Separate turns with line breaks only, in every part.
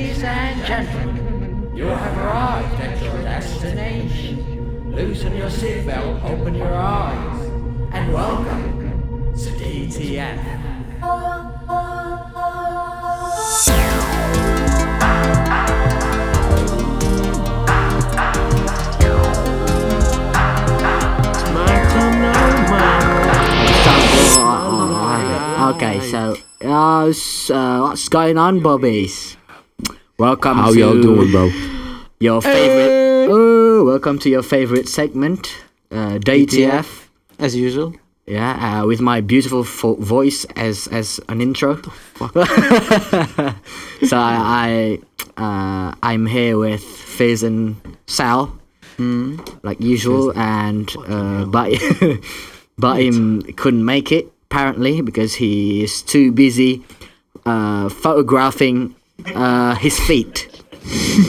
and gentlemen, you have arrived at your destination. Loosen your seatbelt, open your eyes, and welcome to DTF.
Okay, so uh, so what's going on, bobbies? Welcome
How
to
y'all doing, bro? Eh.
your favorite. Oh, welcome to your favorite segment, uh, DTF.
As usual.
Yeah, uh, with my beautiful fo- voice as as an intro. so I, I uh, I'm here with Fizz and Sal, like usual, and uh, but but him couldn't make it apparently because he is too busy uh, photographing uh, his feet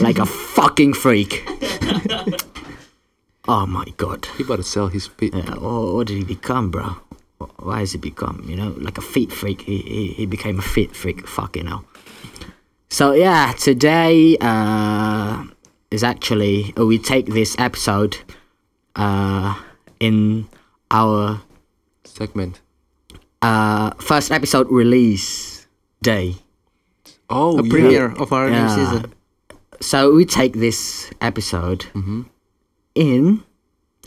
like a fucking freak. oh my god.
He about to sell his feet.
Uh, or what did he become, bro? Wh- Why has he become? You know, like a feet freak. He he, he became a feet freak. Fucking hell. So yeah, today uh, is actually uh, we take this episode uh, in our
Segment.
uh, first episode release day.
Oh, yeah.
premiere of our new
Yeah.
season.
So we take this episode in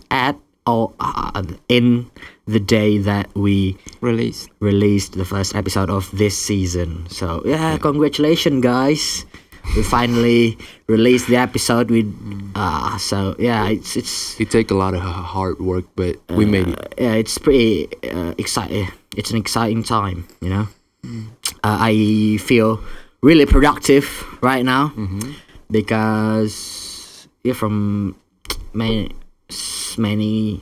at or uh, in the day that we
Released.
released the first episode of this season. So yeah, congratulations guys. We finally released the episode with ah so yeah, it's it's
It take a lot of h- hard work, but we made it.
uh, yeah, it's pretty uh, exciting. It's an exciting time, you know. Uh, I feel really productive right now because yeah, from many, s- many,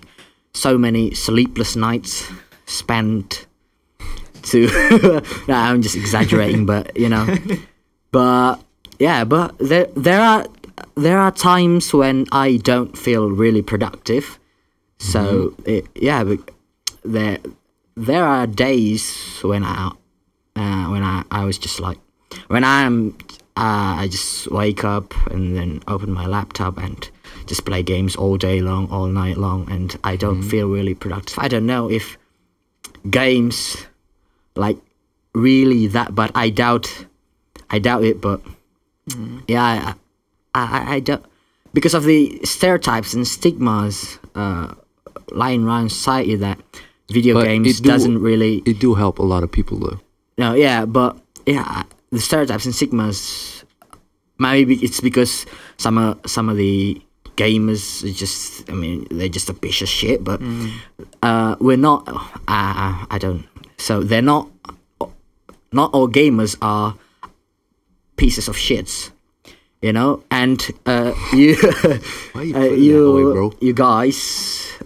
so many sleepless nights spent to. no, I'm just exaggerating, but you know, but yeah, but there there are there are times when I don't feel really productive. So it, yeah, but there there are days when I uh, when I, I was just like when I'm uh, I just wake up and then open my laptop and just play games all day long, all night long, and I don't
Mm-hmm.
feel really productive. I don't know if games like really that, but I doubt I doubt it. But
Mm-hmm.
yeah, I, I, I- I don't because of the stereotypes and stigmas uh, lying around society that video
But
games
it do-
doesn't really
It do help a lot of people though.
no, yeah, but yeah, the stereotypes and sigmas. Maybe it's because some of some of the gamers are just. I mean, they're just a piece of shit. But uh, we're not. Uh, I don't. So they're not. Not all gamers are pieces of shits, you know. And uh, you,
Why you
uh,
put it that
you,
way, bro?
you guys,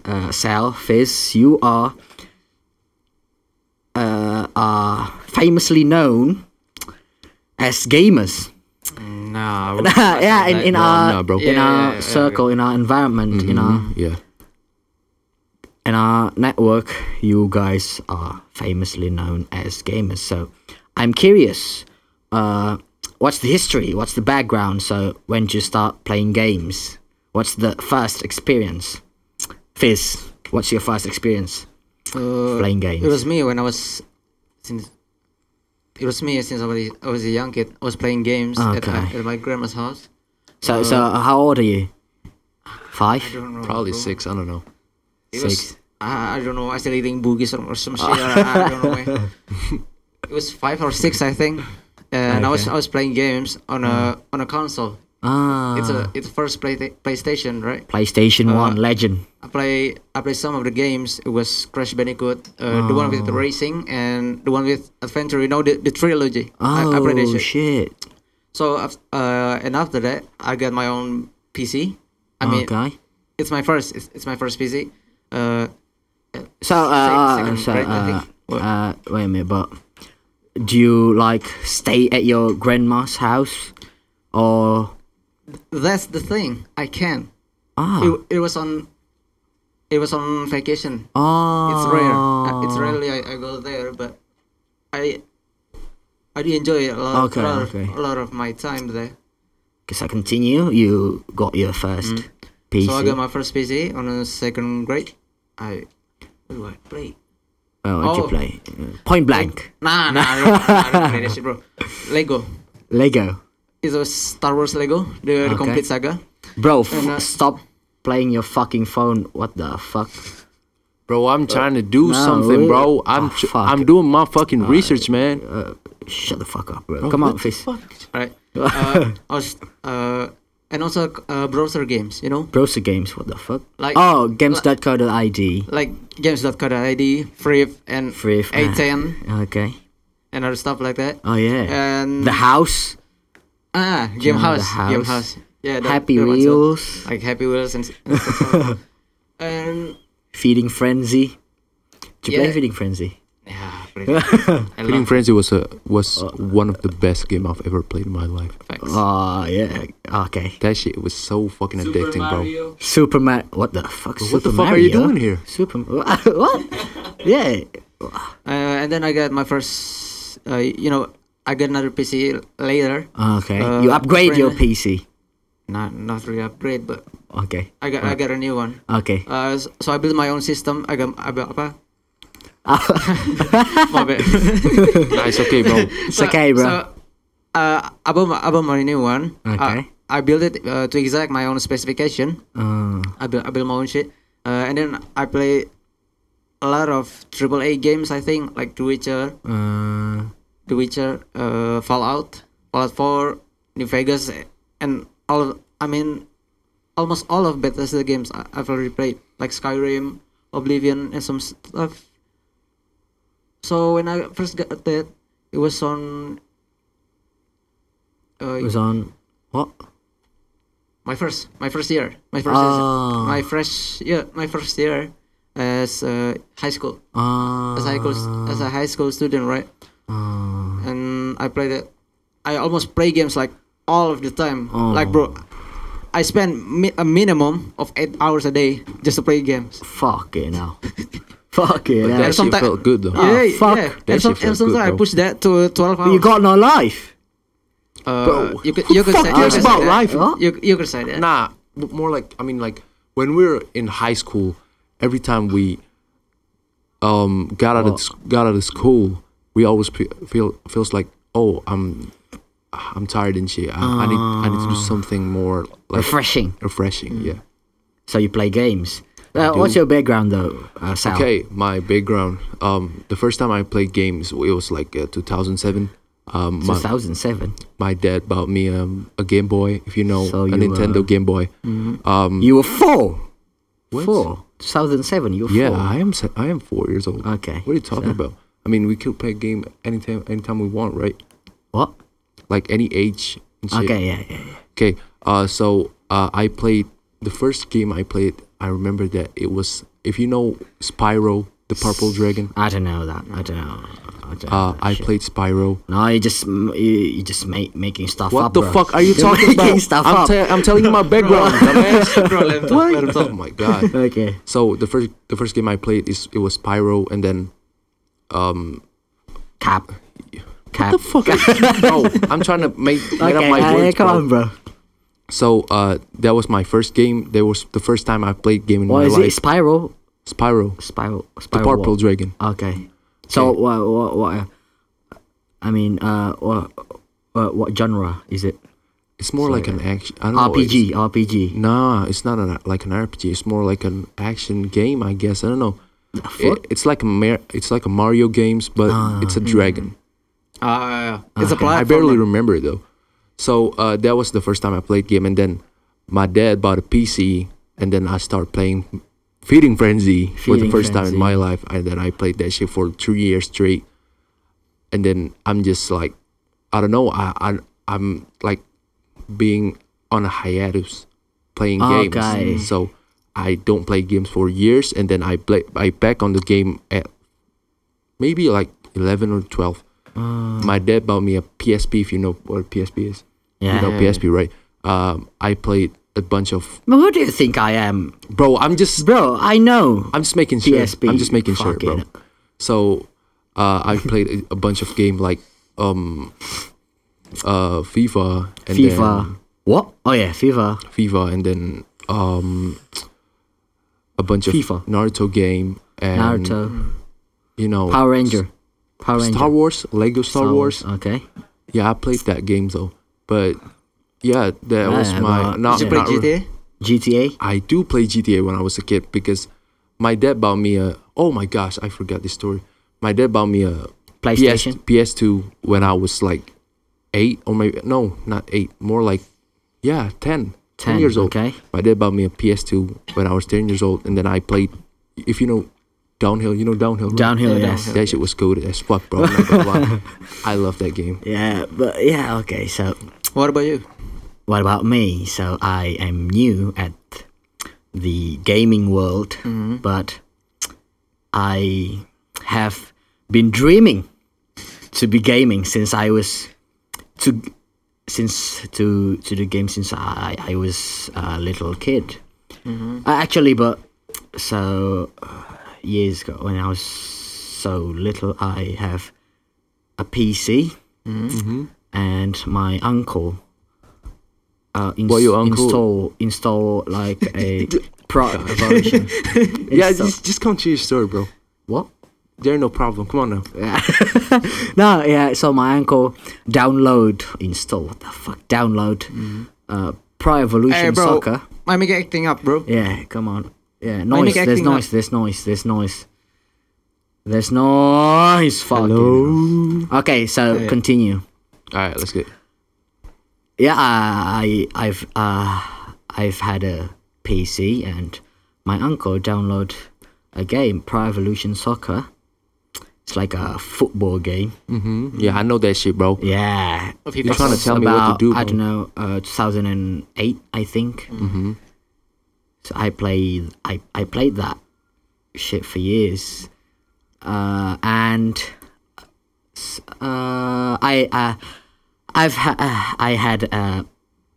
uh, Sal, Fizz, you are uh, are famously known as gamers.
No.
yeah, in, in
No,
our
no, bro. Mm-hmm.
in
Yeah,
our
yeah, yeah,
circle, in our environment, in our
Yeah.
in our network, you guys are famously known as gamers. So, I'm curious, uh, what's the history? What's the background? So, when did you start playing games? What's the first experience? Fizz, what's your first experience playing games?
uh, It was me when I was since. It was me since I was, I was a young kid. I was playing games at, my,
Okay.
at my grandma's house.
so, so how old are you? Five.
uh, I don't know.
Probably
bro.
six. I don't know.
It was-
six.
I, I don't know. I still eating boogies or, or some shit. I, I don't know. man. it was five or six, I think. And I was I was playing games on a on a console.
Mm. Ah.
It's a it's first play PlayStation, right?
PlayStation
Uh,
One Legend.
I play I play some of the games. It was Crash Bandicoot, uh,
Oh.
the one with the racing and the one with adventure. You know the, the trilogy.
Oh
I, I played that shit.
shit!
So af- uh, and after that, I got my own PC. I mean,
okay.
it's my first. It's, it's my first PC. Uh,
So, uh,
second
so
grade, I
uh,
think.
uh, wait a minute, but do you like stay at your grandma's house, or
that's the thing. I can.
ah
It, it was on. It was on vacation.
ah?
It's rare. Uh,
Oh.
It's rarely I, I go there, but I I do enjoy a lot,
Okay,
a, lot of,
okay.
a lot of my time there.
Guess I continue. You got your first PC.
Mm. So I got my first PC on a second grade. I what do I play?
oh, what'd you
oh.
play? Uh, Point Blank,
Nah, nah, I don't, I don't play that shit, bro. Lego.
Lego.
It's a Star Wars Lego, the, the
Okay.
complete saga.
Bro, f-
And, uh,
stop playing your fucking phone. What the fuck?
Bro, I'm trying to do
no, we-
something, bro.
Ah,
I'm tr-
fuck.
I'm doing my fucking research, man.
Shut the fuck up, bro.
Oh,
Come on, Fizz.
Right. Uh, I was, uh, and also uh, browser games, you know,
Browser games. What the fuck?
Like-
oh, games.co.id.
like games.co.id, Free and
Free. Ah,
A10
Okay.
and other stuff like that.
Oh yeah.
And
the house.
ah, Game
know the
House, Game
house?
House. Yeah, that-
Happy
that one's good.
Wheels.
like Happy Wheels and, and stuff. and
Feeding Frenzy. Did you play
Yeah.
Feeding Frenzy?
yeah, pretty I
Feeding
love
Frenzy was a was one of the best game I've ever played in my life.
facts.
Oh yeah. Okay.
That shit was so fucking addicting, bro.
Super Mario. What the fuck?
What
Super
the fuck
Mario?
are you doing here?
Super. what? yeah.
Uh, and then I got my first, uh, you know, I got another PC later.
Okay.
Uh,
you upgrade your
friendly.
PC.
Not not really upgrade, but
Okay.
I got I got a new one.
Okay.
Uh, s- so I built my own system. I got I built apa?
Ah.
my bad.
Nice, okay, bro.
It's okay, bro.
So, uh, I bought my, I bought my new one. Uh,
Okay.
I, I built it uh, to exact my own specification.
Uh,
I built I built my own shit, uh, and then I play a lot of AAA games. I think like The Witcher,
uh,
The Witcher, uh, Fallout, Fallout 4, New Vegas, and all. Of, I mean, almost all of Bethesda games I- I've already played, like Skyrim, Oblivion, and some stuff. So when I first got that, it was on. Uh,
it was on. What?
my first, my first year, my first,
Oh.
my fresh, yeah, my first year as uh, high school,
Uh,
as a high school, as a high school student, right?
uh,
and I played it. I almost play games like all of the time.
Oh.
Like bro, I spend mi- a minimum of eight hours a day just to play games.
fuck it now. fuck it
That
now.
there's-
shit
someti-
felt good though.
Ah,
yeah,
fuck.
yeah.
That shit
And, some,
felt
and sometimes
good,
I
bro.
push that to twelve hours.
You got no life.
uh,
Bro,
You could,
who
you could
fuck
say,
cares
you could say
about
that.
life?
Huh?
You, you could say that.
Nah, but more like I mean, like when we were in high school, every time we um got out of s- got out of school, we always pe- feel feels like oh I'm I'm tired and shit. I, I need I need to do
Ah.
something more like
Refreshing.
refreshing.
mm.
Yeah.
So you play games. Uh,
do.
what's your background though, uh, Sal?
Okay, my background. Um, the first time I played games, it was like uh, 2007. Um, my,
2007.
my dad bought me um, a Game Boy, if you know,
So
a
you,
Nintendo
uh,
Game Boy. Um,
You were four.
What?
Four. 2007. You were
yeah,
four.
I am. se- I am four years old.
Okay,
What are you talking about? I mean, we could play a game anytime, anytime we want, right?
What?
Like any age. And shit.
Okay. Yeah. Yeah. yeah.
Okay. Uh, so uh, I played the first game I played. I remember that it was if you know Spyro, the Purple Dragon.
I don't know that. I don't know. I don't
Uh,
know that
I
Oh, shit.
played Spyro.
No, you just m- you, you just make making stuff
What
up.
the
bro.
fuck are you
You're
talking
making
about?
Stuff
I'm,
up.
tell- I'm telling you my background. dumbass.
Bro, let him talk, let him
oh
talk.
my god.
okay.
So the first the first game I played is it was Spyro, and then
Cap. Cap.
the fuck. no, I'm trying to make, make up
okay.
my
uh,
words,
come
bro.
on, bro.
So uh, that was my first game. That was the first time I played game in
What
my
is
life.
it? Spiral.
Spyro,
Spiral.
the
Spiral. what?
Purple Dragon.
Okay. So what? What? What? uh, I mean, uh, what? What, what genre is it?
It's more like an action. I don't Know,
RPG.
it's-
RPG.
nah, it's not an, like an RPG. It's more like an action game, I guess. I don't know.
fuck?
It, it's like a Mar- it's like a Mario games, but
Ah,
it's a dragon.
Uh, it's a
I
platform.
barely remember it though. So uh, that was the first time I played game, and then my dad bought a PC, and then I started playing Feeding Frenzy for the
Feeding
first time in
Frenzy.
my life, and then I played that shit for three years straight. And then I'm just like, I don't know, I, I I'm like being on a hiatus playing
Oh, Okay.
games, so I don't play games for years, and then I play I back on the game at maybe like 11 or 12
Ah.
my dad bought me a psp if you know what psp is
Yeah.
you know psp right um i played a bunch of
But who do you think I am,
bro i'm just
bro? I know.
i'm just making sure
PSP,
i'm just making sure bro
fucking-
so uh i played a, a bunch of game like um uh fifa and
FIFA.
then
What? Oh yeah, FIFA.
FIFA, and then um, a bunch of
FIFA.
Naruto game and
Naruto.
you know
Power Ranger. Power Ranger.
Um, Star Wars, Lego Star, Wars.
Okay.
Yeah, I played that game though, but yeah, that was
yeah,
my.
well,
Not,
Did you play
not re-
GTA?
GTA.
I do play GTA when I was a kid because my dad bought me a. Oh my gosh, I forgot this story. My dad bought me a
PlayStation?
PS, PS2 when I was like eight or maybe no, not eight, more like yeah, 10,
10,
years old.
okay.
My dad bought me a PS2 when I was ten years old, and then I played. If you know downhill, you know downhill. right?
Downhill, Yeah, yes. downhill.
That shit was good as fuck, bro. I'm not gonna lie. I love that game.
Yeah, but yeah, okay. So
What about you?
what about me? So I am new at the gaming world,
Mm-hmm.
but I have been dreaming to be gaming since I was to since to to the game since I I was a little kid. Uh, actually, but so uh, years ago when I was so little, I have a PC,
Mm-hmm.
and my uncle uh, ins-
Well, your uncle-
install install like a pro version.
Yeah,
Install-
just just come to your story, bro.
what?
There ain't no problem. Come on now.
No, yeah. So my uncle download install what the fuck download uh, Pro Evolution
Hey, bro.
Soccer.
I'm making acting up, bro.
Yeah, come on. Yeah,
Why
noise.
make
There's
acting up?
noise. There's noise. There's noise. There's noise. Fucking hell. Okay, so continue.
All right, let's get.
Yeah, I, I I've uh I've had a PC and my uncle download a game, Pro Evolution Soccer. It's like a football game.
Mhm. Yeah, I know that shit, bro.
Yeah.
You're trying to tell me what to
about,
do, bro.
I don't know, uh, 2008, I think. Mm-hmm. So I played, I, I played that shit for years, uh, and s- uh, I uh, I've ha- uh, I had a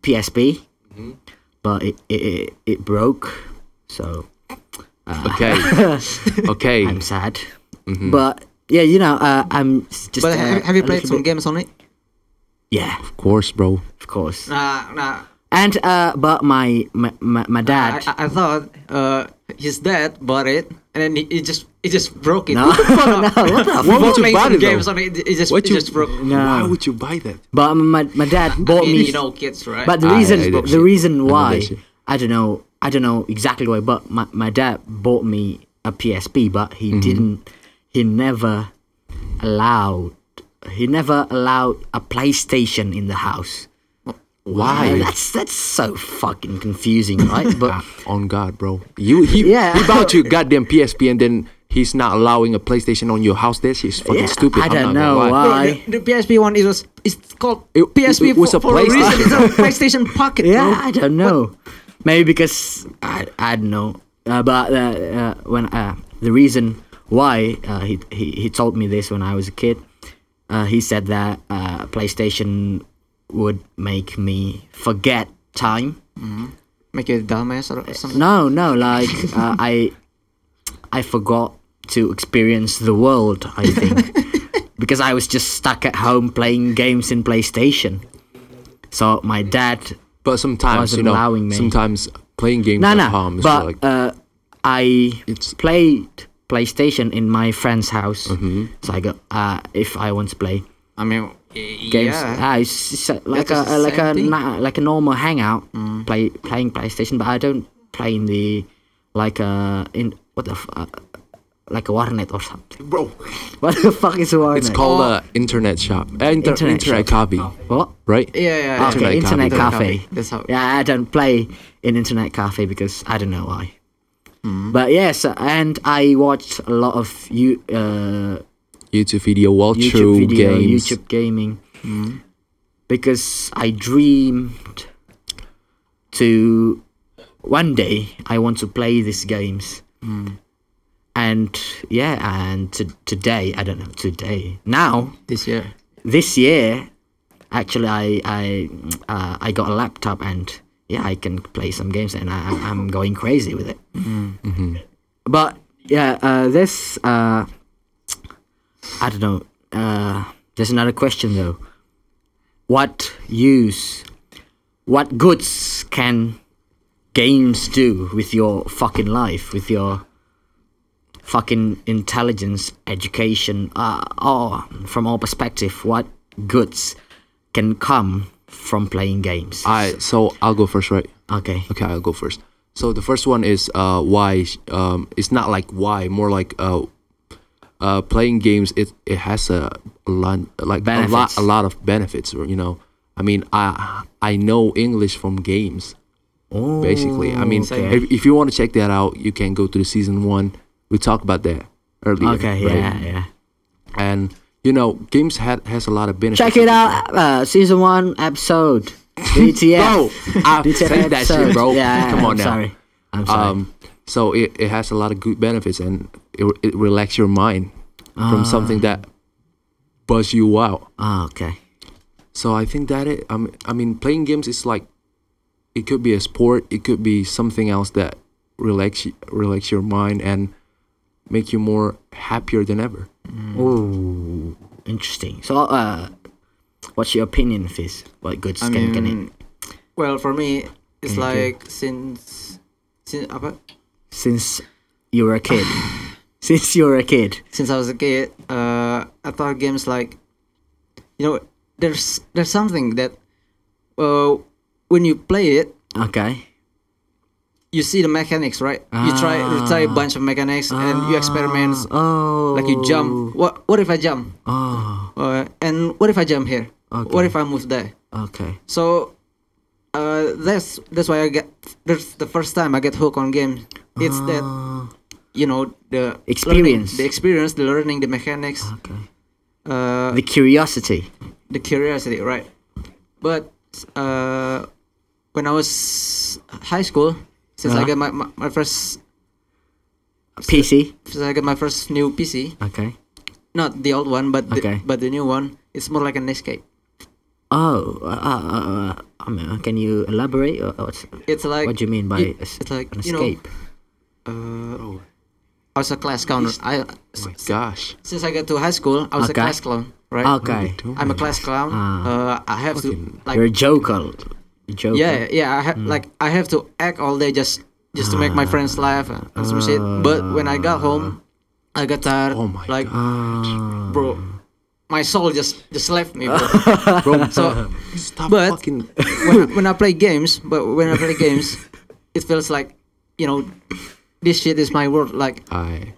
PSP,
Mm-hmm.
but it, it it it broke, so
Okay. okay.
I'm sad.
Mm-hmm.
But yeah, you know, uh, I'm s- just. uh,
But have, have you
a
played
little
some
bit-
games on it?
Yeah,
Of course, bro.
of course.
Nah, nah.
And uh, but my my, my, my
I,
dad.
I, I thought uh, his dad bought it, and then he, he just he just broke it.
No, no, what the
Why
Before
would you
playing
buy
some
it, though?
games on it, it just
What
it
you-
just broke.
Why
No.
would you buy that?
But my, my dad bought
mean,
me.
you know, kids, right?
but the
I
reason,
hate that
the
shit. I
reason
know that
why,
shit.
I don't know, I don't know exactly why. But my, my dad bought me a PSP, but he didn't. He never allowed. He never allowed a PlayStation in the house. And
Why?
that's that's so fucking confusing, right? But
On God, bro. You he,
Yeah.
he bought you goddamn PSP and then he's not allowing a PlayStation on your house. That's shit's fucking
Yeah,
stupid.
I
I'm
don't
not gonna
know
lie.
why.
Bro, the, the PSP one it was it's called
It- it
PSP
was
for,
a
for a reason. It's a PlayStation Pocket.
Yeah,
bro.
I don't know. Maybe because I, I don't know. Uh, but uh, uh, when uh, the reason why uh, he, he he told me this when I was a kid, uh, he said that uh, PlayStation would make me forget time.
Make you a dumbass or something.
No, no, like uh, I I forgot to experience the world. I think because I was just stuck at home playing games in PlayStation. So my dad
But sometimes
Wasn't
you know,
allowing me.
sometimes playing games
No,
at
no.
home is
but
like
uh, I
It's-
played PlayStation in my friend's house.
Mm-hmm.
So I got uh, if I want to play
I mean, y-
games,
yeah.
uh, it's, it's, uh, like
it's
a
the
like
same
a
thing. Mm.
na- like a normal hangout. Play playing PlayStation, but I don't play in the like uh in what the f- uh, like a warnet or something.
bro.
What the fuck is a warnet?
It's called uh, internet shop, Uh, inter- internet,
Internet shop.
copy,
what?
right?
Yeah, yeah, yeah.
Okay, internet,
copy.
cafe.
cafe. That's how-
Yeah, I don't play in internet cafe because I don't know why. But yes, and I watched a lot of you uh,
YouTube video, well,
YouTube
true
video,
games.
YouTube gaming, because I dreamed to one day I want to play these games. And yeah, and to, today I don't know today now
This year.
this year actually i i uh, i got a laptop and yeah i can play some games and I, I- i'm going crazy with it but yeah uh, this uh, i don't know uh, there's another question though what use what goods can games do with your fucking life, with your fucking intelligence, education, uh, or from all perspective, what goods can come from playing games?
I so I'll go first, right?
okay.
Okay, I'll go first. So the first one is uh, why. Um, it's not like why, more like uh, uh, playing games. It it has a, lot, like a lot,
Benefits.
a lot of benefits. You know, I mean, I I know English from games. basically, I mean,
Oh, okay.
if, if you want to check that out, you can go to the season one. We talked about that earlier.
Okay,
right?
yeah, yeah.
And you know, games had has a lot of benefits.
Check it out, uh, season one episode.
Bro,
DTF.
I
DTF
said that shit,
episode.
bro.
Yeah,
Come
I'm
on now.
Sorry. I'm sorry.
Um, so it, it has a lot of good benefits and it, it relax your mind from something that buzz you out.
Ah, okay.
So I think that it, I mean, I mean, playing games is like, it could be a sport, it could be something else that relax y- relax your mind and make you more happier than ever.
Ooh, interesting. So, uh, what's your opinion of this? What goods
I
can, can
mean,
it?
well, for me,
Can
it's
you do?
like since since apa?
Since you were a kid. Since you were a kid.
since I was a kid, uh, I thought games like, you know, there's there's something that, uh, when you play it,
Okay.
you see the mechanics, right? You try
Ah.
you try a bunch of mechanics and you experiment,
Oh.
like you jump. What what if I jump?
Oh,
Uh, and what if I jump here? What
Okay.
if I move there?
okay.
So, uh, that's that's why I get that's the first time I get hooked on games. It's that you know the
Ah.
learning-
Experience. Ah.
the experience, the learning, the mechanics.
Okay.
Uh,
The curiosity.
the curiosity, right? But uh, when I was high school, since I
Uh-huh.
got my, my, my first
PC.
since I got my first new PC,
Okay.
not the old one, but the,
Okay.
but the new one, it's more like an escape.
Oh, uh, uh, uh, I mean, can you elaborate? Or, or what's,
It's like
what do you mean by
you-
es-
it's like
an
you know,
escape?
uh, I was a class clown.
Oh
I
my gosh.
since I got to high school, I was
Okay.
a class clown, right?
okay. Ah.
Don't
I'm a
worry.
class clown. uh, I have to like
You're a joker. Joker.
yeah yeah i have
Hmm.
like i have to act all day just just to make my
Ah.
friends laugh and some shit but when i got home i got tired
Oh my
like
Ah.
bro my soul just just left me bro
Bro,
so
stop
but-
fucking.
when, I- when i play games but when i play games it feels like you know this shit is my world like
I.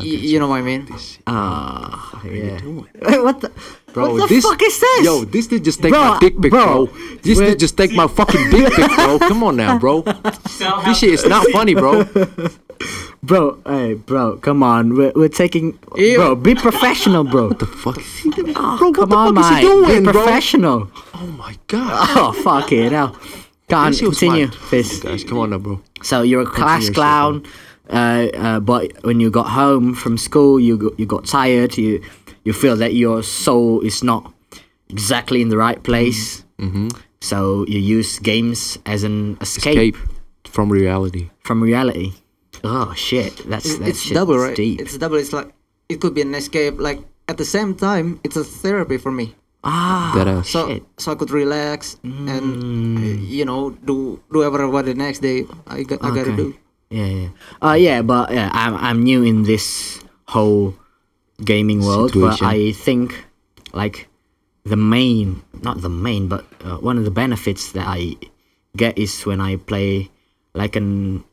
y- you know what i mean
Ah, yeah.
doing?
Wait, what the,
Bro,
what the
this,
fuck is this?
Yo, this did just take
Bro,
my dick pic,
bro.
bro. This
Wait.
did just take my fucking dick pic, bro. Come on now, bro. This shit is not funny, bro.
bro, hey, bro, come on. We're, we're taking.
Ew.
Bro, be professional, bro.
Fuck. Oh,
Oh, come on,
is he
mate.
doing,
be
bro?
professional.
Oh my god.
Oh, fuck it. Now, go on,
This shit was
Ah, continue.
mad.
Fizz.
Guys, come on now, bro.
So you're a class
yourself,
clown, uh, uh, but when you got home from school, you got, you got tired. You you feel that your soul is not exactly in the right place. Mm-hmm. So you use games as an escape,
Escape from reality.
from reality. Oh shit, that's that's
it's double right
deep.
it's double it's like it could be an escape like at the same time it's a therapy for me
ah,
That ass.
so
Shit.
so I could relax and uh,
Mm.
you know do do whatever what the next day I got I gotta do.
Yeah, yeah. Uh, yeah, but yeah, I'm I'm new in this whole gaming world, but
Situation.
I think like the main, not the main, but uh, one of the benefits that I get is when I play like an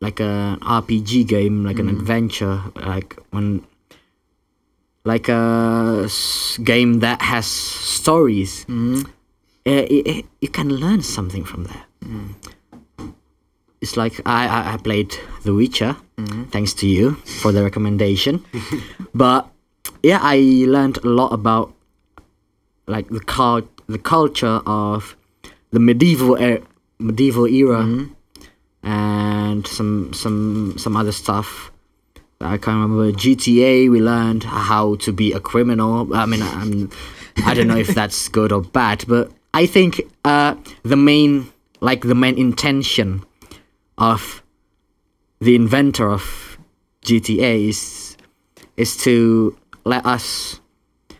like an RPG game, like an adventure, like when like a s- game that has stories. Uh, i- i- you can learn something from there it's like I, I, I played The Witcher, thanks to you for the recommendation. but yeah, I learned a lot about like the cult, the culture of the medieval er- medieval era, and some some some other stuff. I can't remember GTA. We learned how to be a criminal. I mean, I'm, I don't know if that's good or bad, but I think uh, the main, like the main intention of the inventor of GTA is is to let us,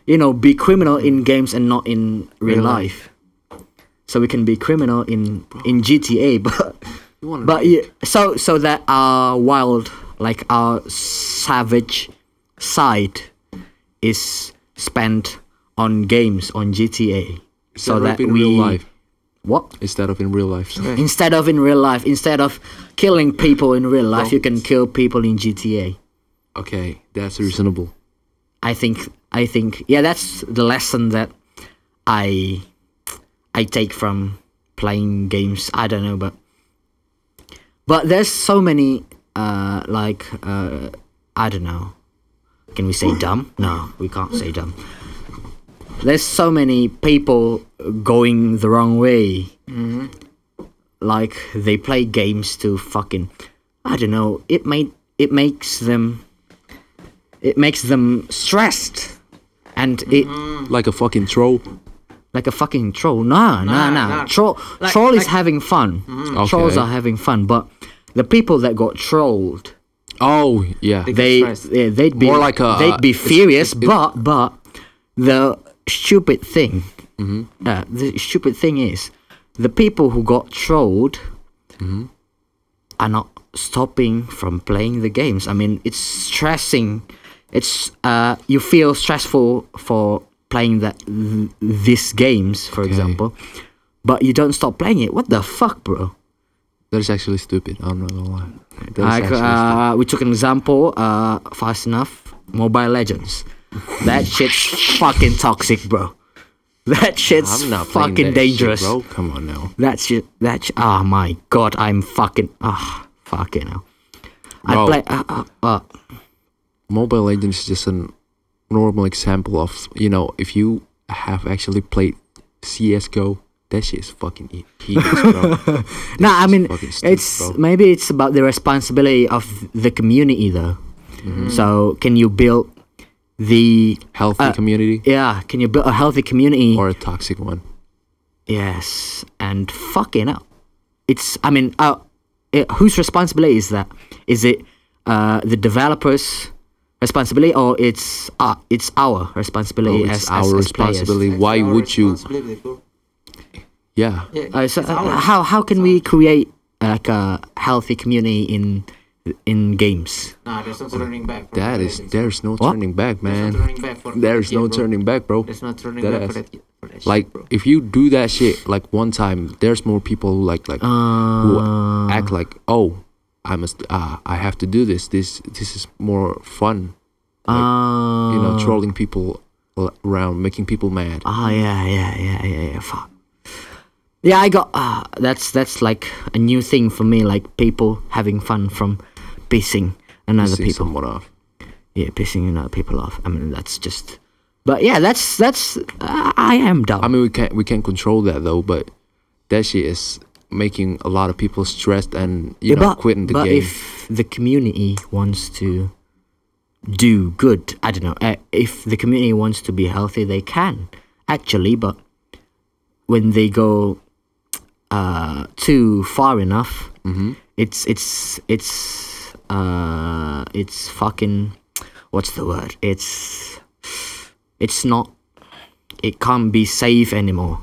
you know, be criminal in games and not in real, life. so we can be criminal in in GTA. But
You wanna
but
be-
yeah, so so that our wild, like our savage side, is spent on games on GTA.
Instead of in real life.
What?
Instead of in real life.
Instead of in real life, instead of killing people in real life, you can kill people in GTA.
okay, that's reasonable.
I think I think yeah, that's the lesson that I I take from playing games. I don't know, but but there's so many uh like uh I don't know. Can we say dumb? No, we can't say dumb. There's so many people going the wrong way. Like they play games to fucking I don't know. It made it makes them it makes them stressed and it
Like a fucking troll.
like a fucking troll nah nah nah,
nah.
troll
Like-
troll is
like- Mm-hmm.
having fun
Okay.
trolls are having fun but the people that got trolled
Oh yeah.
They-
they
stressed.
yeah, they'd be
More like a-
they'd be
it's-
furious
it's- it-
but but the stupid thing
Mm-hmm.
uh, the stupid thing is the people who got trolled
Mm-hmm.
are not stopping from playing the games i mean it's stressing it's uh you feel stressful for playing that th- these games for example but you don't stop playing it what the fuck bro
That is actually stupid. I'm not gonna lie. That is
like
actually
uh, we took an example uh, fast enough mobile legends that shit's fucking toxic bro that
stupid.
shit's
I'm not playing
fucking
that shit,
dangerous
bro. Come on now.
that shit that sh- oh my god i'm fucking ah fucking hell i
Bro.
play uh, uh, uh,
Mobile Legends is just a normal example of you know if you have actually played CS:GO, that shit is fucking e- hideous,
Uh,
bro.
no i mean
fucking stupid,
it's
bro.
maybe it's about the responsibility of the community though
Mm-hmm.
so can you build the
Healthy community
yeah can you build a healthy community
or a toxic one?
Yes, and fucking up. It's. I mean, uh, it, whose responsibility is that? Is it uh, the developers' responsibility, or it's uh, it's our responsibility
Bro,
as as-
it's our
as players?
responsibility.
It's
Why
our
would you?
responsibility, bro.
Yeah.
Yeah,
Uh, so,
it's
uh,
ours.
how how can we create like a healthy community in in games?
Nah, there's no turning back. bro.
That is, there's no turning back,
There's no
man.
turning back for
There's
that
no
kid, bro.
turning back, bro.
There's no turning
That
back
ass.
for that. kid- For that shit,
Like,
bro.
if you do that shit like one time, there's more people who like like who
Uh.
act like, oh, I must, uh, I have to do this. This this is more fun,
Uh,
you know, trolling people al- around, making people mad.
Oh yeah, yeah, yeah, yeah, yeah. Fuck. Yeah, I got. Uh, that's that's like a new thing for me. Like people having fun from pissing another
Pissing
people.
someone off.
Yeah, pissing another people off. I mean, that's just. But yeah, that's that's. Uh, I am dumb.
I mean, we can't we can't control that though, but that shit is making a lot of people stressed and
Yeah,
you know quitting the
but
game.
if the community wants to do good, I don't know. Uh, if the community wants to be healthy, they can actually. But when they go uh, too far enough,
Mm-hmm.
it's it's it's uh, it's fucking what's the word? It's it's not. It can't be safe anymore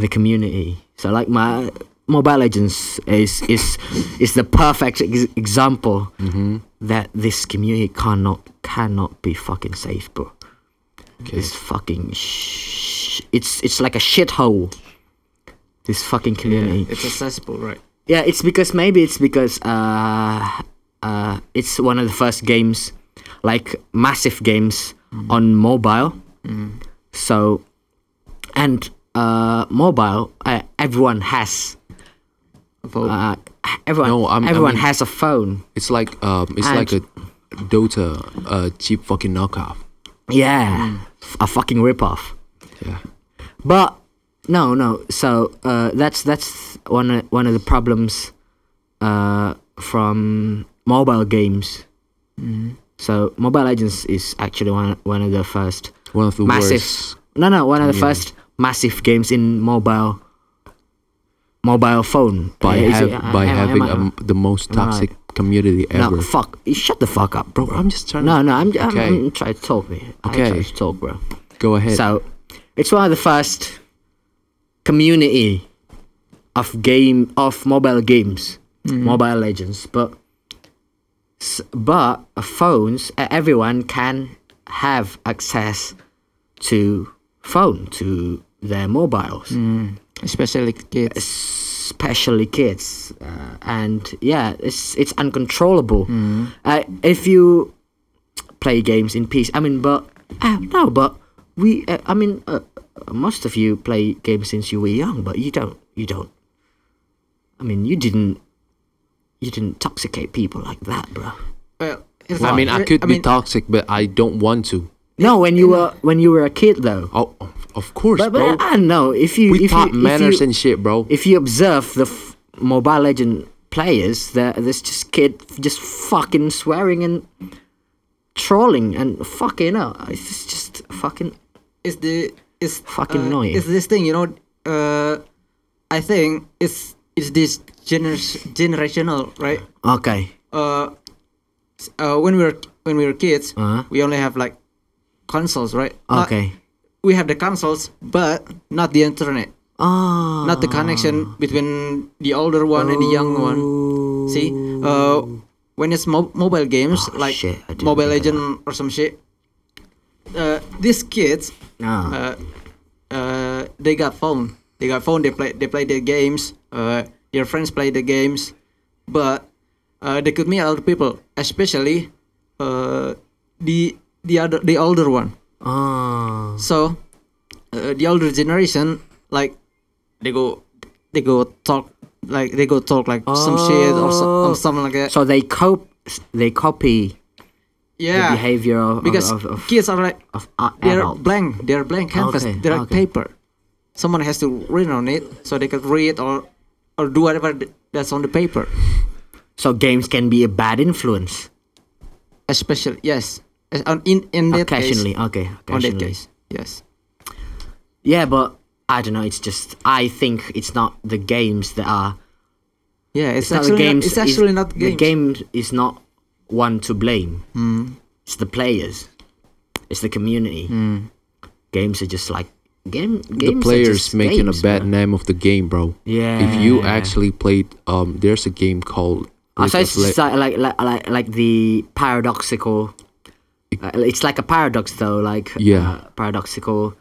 the community. So like my Mobile Legends is is is the perfect ex- example that this community cannot cannot be fucking safe, bro. It's fucking sh- it's it's like a shithole. This fucking community.
it's accessible, right?
Yeah, it's because maybe it's because uh, uh, it's one of the first games, like massive games
Mm.
on mobile. So, and uh, mobile, uh, everyone has.
Vote.
Uh, everyone,
No, I'm- I
everyone
mean-
has a phone.
It's like um, it's
And-
like a Dota, uh, cheap fucking knockoff. Mm.
Yeah, f- a fucking ripoff.
Yeah.
But no, no. So uh, that's that's one of, one of the problems uh, from mobile games. Mm-hmm. So Mobile Legends is actually one one of the first
One of the
massive.
worst.
No, no, one of the first massive games in mobile mobile phone
By,
Uh, is
hav-
it- uh,
by
am- am
having
I-
um, the most toxic community ever.
no fuck shut the fuck up, bro.
Bro, I'm just trying
no,
to
no, I'm, I'm,
Okay.
I'm trying to talk, man. I'm
Okay.
trying to talk, bro.
go ahead.
So, it's one of the first community of game of mobile games, Mobile Legends, but s- but phones uh, everyone can have access to phone to their mobiles
especially kids.
especially kids uh, and yeah it's it's uncontrollable uh, if you play games in peace i mean but uh, no but we uh, i mean uh, uh, most of you play games since you were young but you don't you don't i mean you didn't you didn't intoxicate people like that bro
Well, it's
I
not
mean, I
re-
could be
mean,
toxic, but I don't want to.
no when you were when you were a kid though
Oh, of course,
but,
bro.
but i don't know if you
we
if you,
taught
if
manners
you,
and shit, bro.
if you observe the f- Mobile Legend players, there there's just kid just fucking swearing and trolling and fucking up. It's just, just fucking.
It's the it's
Fucking
uh,
annoying.
It's this thing, you know. Uh, I think it's it's this gener- generational, right?
Okay.
Uh, s- uh, when we were when we were kids,
Uh-huh.
we only have like consoles, right? Not-
Okay.
we have the consoles, but not the internet,
Ah.
not the connection between the older one and the young one. See, uh, when it's mo- mobile games
Oh,
like
shit, I didn't
Mobile
think of
Legend or some shit, uh, these kids,
Ah.
uh, uh, they got phone. They got phone. They play. They play their games. Uh, their friends play the games, but uh, they could meet other people, especially uh, the the other the older one.
Ah.
So, uh, the older generation, like, they go, they go talk, like they go talk like some shit or, so,
Oh.
or something like that.
So they cope. They copy
yeah,
the behavior of
because
of, of,
kids are like
of, a-
they're
adults.
blank, they're blank canvas,
Okay,
they're like
okay.
paper. Someone has to read on it so they could read or or do whatever th- that's on the paper.
so games can be a bad influence
Especially yes, As- on in in that case,
occasionally. Okay.
on
Occasionally.
that case, yes.
Yeah, but I don't know. It's just I think it's not the games that are
Yeah,
it's
it's,
not
actually
the games.
not, it's actually not
the game is not one to blame. It's the players. It's the community. Games are just like game. Games
the
are
players
just
making
games,
a bad
man.
name of the game, bro. If you
Yeah.
actually played, um, there's a game called.
Oh, so
League
it's
of Le-
just like, like like like like the paradoxical. uh, it's like a paradox, though. Like
Yeah.
uh, paradoxical.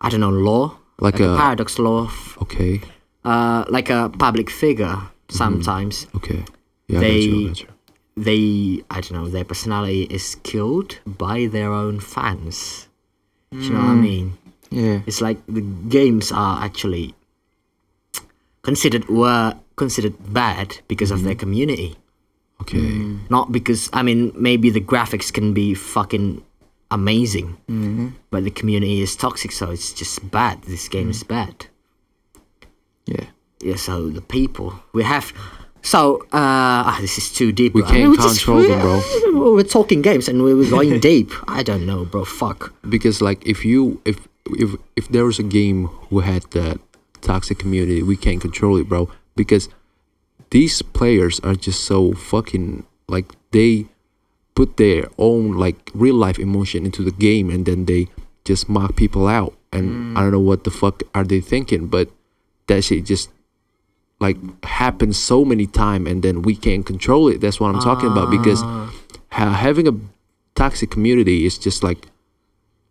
I don't know law.
Like a-
paradox law. F-
okay,
uh, like a public figure
Mm-hmm.
sometimes.
okay. Yeah, I got you. I
They-
got you.
they I don't know, their personality is killed by their own fans. Do you know what I mean?
Yeah,
It's like the games are actually considered were considered bad because of their community.
Okay.
Not because I mean maybe the graphics can be fucking amazing. But the community is toxic so it's just bad. This game is bad.
yeah.
Yeah, so the people we have. So uh, ah, this is too deep.
We
bro. I mean,
can't
we're just-
control them, bro.
we're- We're talking games and we we're going deep. I don't know, bro. Fuck.
because like if you if if if there was a game who had that toxic community we can't control it bro because these players are just so fucking like they put their own like real life emotion into the game and then they just mock people out and
Mm.
i don't know what the fuck are they thinking but that shit just like happens so many time and then we can't control it that's what i'm talking about because
Ah.
ha- having a toxic community is just like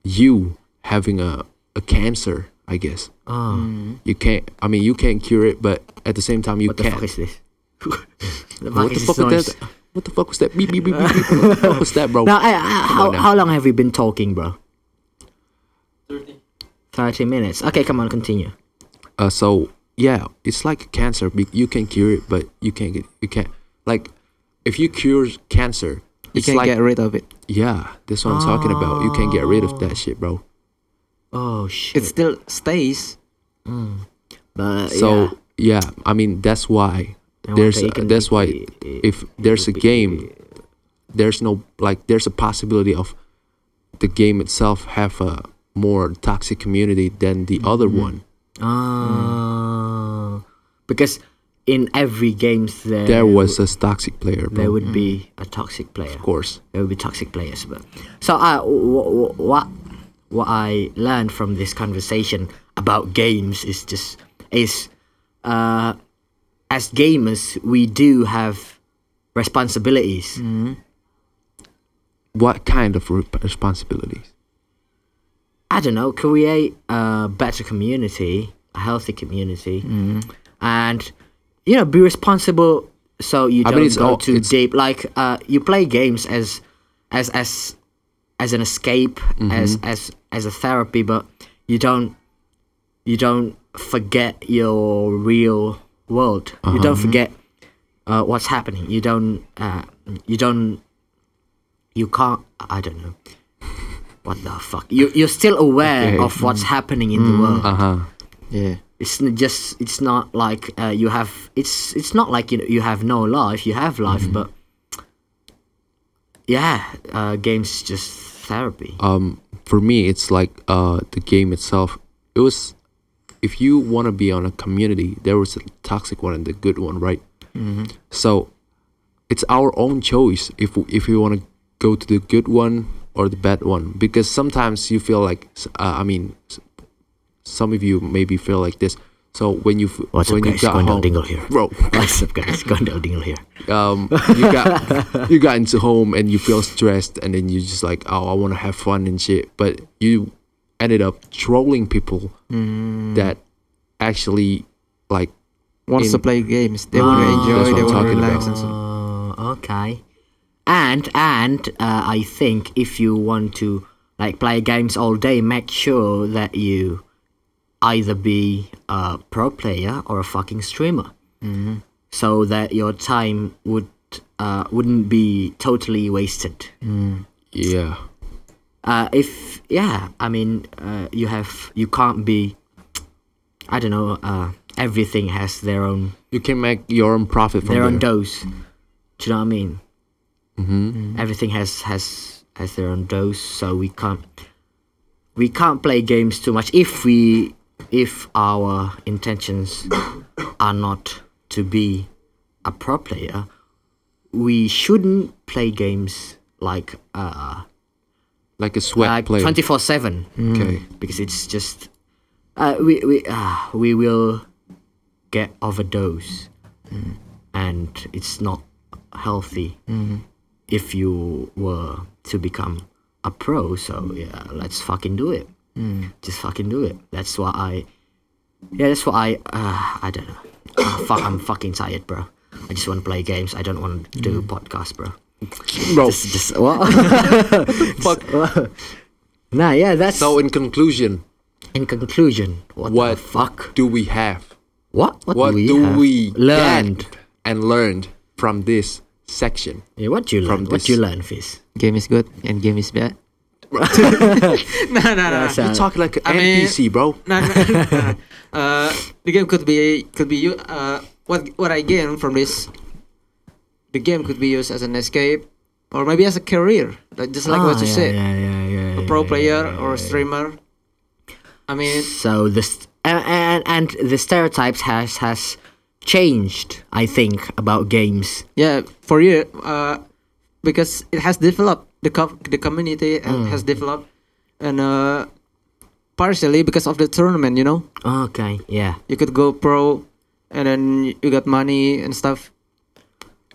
you having a, a cancer, I guess.
Ah.
You can't. I mean, you can't cure it, but at the same time, you
What the
can.
fuck is this? the
what the
is
fuck
this
was
noise?
that? What the fuck was that? Beep, beep, beep, beep, beep. What the fuck was that, bro?
Now, I, I, how,
on now.
how long have we been talking, bro? Thirty. Thirty minutes. Okay, come on, continue.
Uh, so yeah, it's like cancer. Be- You can cure it, but you can't get. You can't. Like, if you cure cancer,
You
it's
can not
like
get rid of it.
yeah. That's what I'm talking about. You can't get rid of that shit, bro.
Oh shit.
It still stays.
but, yeah.
Oh,
So yeah, I mean that's why
And
there's
what they
a-
can
that's
be-
why if there's a game, there's no like there's a possibility of the game itself have a more toxic community than the other
Mm-hmm.
one.
Ah, because in every games there
Hmm. There Mm-hmm. was a toxic player,
there
bro,
would be a toxic player.
of course.
it would be toxic players. But so I, what, what I learned from this conversation about games is just is uh, as gamers we do have responsibilities.
What kind of re- responsibilities?
I don't know, create a better community, a healthy community,
Mm-hmm.
and you know, be responsible so you
I mean,
don't
it's
go
all-
too
it's-
deep. Like uh, you play games as as as as an escape,
Mm-hmm.
as as as a therapy, but you don't you don't forget your real world. You
Uh-huh.
don't forget uh, what's happening. You don't uh, you don't you can't. I don't know what the fuck you you're still aware
Okay. Mm.
of what's happening in the world
Uh huh.
Yeah.
it's n- just it's not like uh, you have it's it's not like you you have no life you have life
Mm-hmm.
but yeah uh, games just therapy
um, for me, it's like uh, the game itself. It was, if you want to be on a community, there was a toxic one and the good one, right?
Mm-hmm.
So, it's our own choice if if we want to go to the good one or the bad one. Because sometimes you feel like, s- uh, I mean, s- some of you maybe feel like this. So when you f-
what's
when
up
you
guys
got
Gondel
home,
Dingle here
bro,
what's up guys Gondel Dingle here
um, you got you got into home and you feel stressed and then you just like oh I want to have fun and shit but you ended up trolling people
Mm.
that actually like
Wants to
In-
play games. They want to
Ah, that's what
enjoy. They
I'm
want to
talking
relax.
about.
And so.
uh, okay and and uh, I think if you want to like play games all day make sure that you either be a pro player or a fucking streamer so that your time would uh, wouldn't be totally wasted.
yeah
Uh, if yeah, I mean uh, you have you can't be. I don't know. Uh, everything has their own
you can make your own profit from
their own
there.
dose. Do you know what I mean? Mm-hmm. Everything has has has their own dose, so we can't we can't play games too much if we if our intentions are not to be a pro player. We shouldn't play games like uh
like a sweat
like
player
twenty four seven
okay
because it's just uh, we we uh, we will get overdose, Mm. and it's not healthy
Mm-hmm.
if you were to become a pro. So yeah, let's fucking do it.
Mm.
Just fucking do it. That's what I. Yeah, that's what I. Uh, I don't know. Ah, fuck, I'm fucking tired, bro. I just want to play games. I don't want to
Mm.
do podcasts, bro.
bro
Just, just what? Fuck. Nah, yeah, that's
so in conclusion
in conclusion, what, the
what
fuck?
do we have
What? What,
what
do we,
do
have?
we
learned?
get and learned from this section
Yeah, Eh, what do you learn?
from
What do you
this?
learn, Fizz?
Game is good and game is bad. no, no, no.
That's, uh,
you talk like an
I mean-
NPC bro
no, no, no, no. Uh, the game could be could be you. Uh, what what I gain from this, the game could be used as an escape, or maybe as a career. Like just like what
Ah,
you
yeah,
said,
yeah, yeah, yeah, yeah,
a
yeah,
pro player
yeah, yeah,
or a
yeah.
streamer. I mean,
So this and, and and the stereotypes has has changed, I think, about games.
yeah, for you, uh, because it has developed the co- the community
Mm.
and has developed, and uh, partially because of the tournament, you know.
Okay, yeah.
you could go pro and then you got money and stuff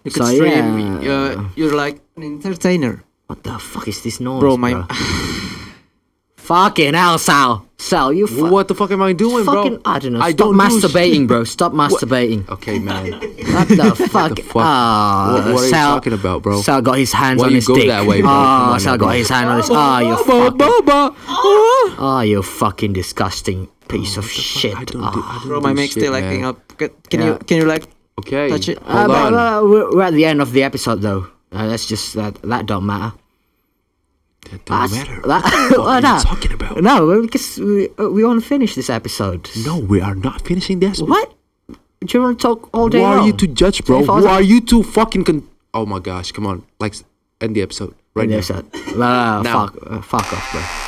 you could
So,
stream
yeah.
uh, you're like an entertainer
What the fuck is this noise,
bro my
fucking hell, Sal. Sal, you fu-
what the fuck am I doing
fucking
bro
I don't know.
I
Stop
don't do shit.
masturbating, bro. Stop masturbating.
okay man
What the fuck?
fuck? What- what are you talking about, bro?
Sal got his hands
Why
on
you
his
go
dick.
that way, bro? Come
Oh,
on,
Sal
bro.
got his hand on his. Oh, you fucking. Oh, you fucking disgusting piece of shit.
I don't
Ah.
do, I don't
bro
do
my mic
shit,
still
man.
acting up C- can you
Yeah.
can you like
Okay.
Touch it.
Uh,
Hold
but,
on.
uh, we're, we're at the end of the episode, though. Uh, that's just that. That don't matter.
that don't
That's-
matter.
that-
what
nah.
are you talking about?
No, because we uh, we want to finish this episode.
No, we are not finishing this.
What? Do you want to talk all
Who
day
are
long?
you to judge, bro?
If I was-
Who are you to fucking con- Oh my gosh, come on. Like, s- end the episode right
End the
now.
episode. Nah, nah, nah,
Now.
fuck, uh, fuck off, bro.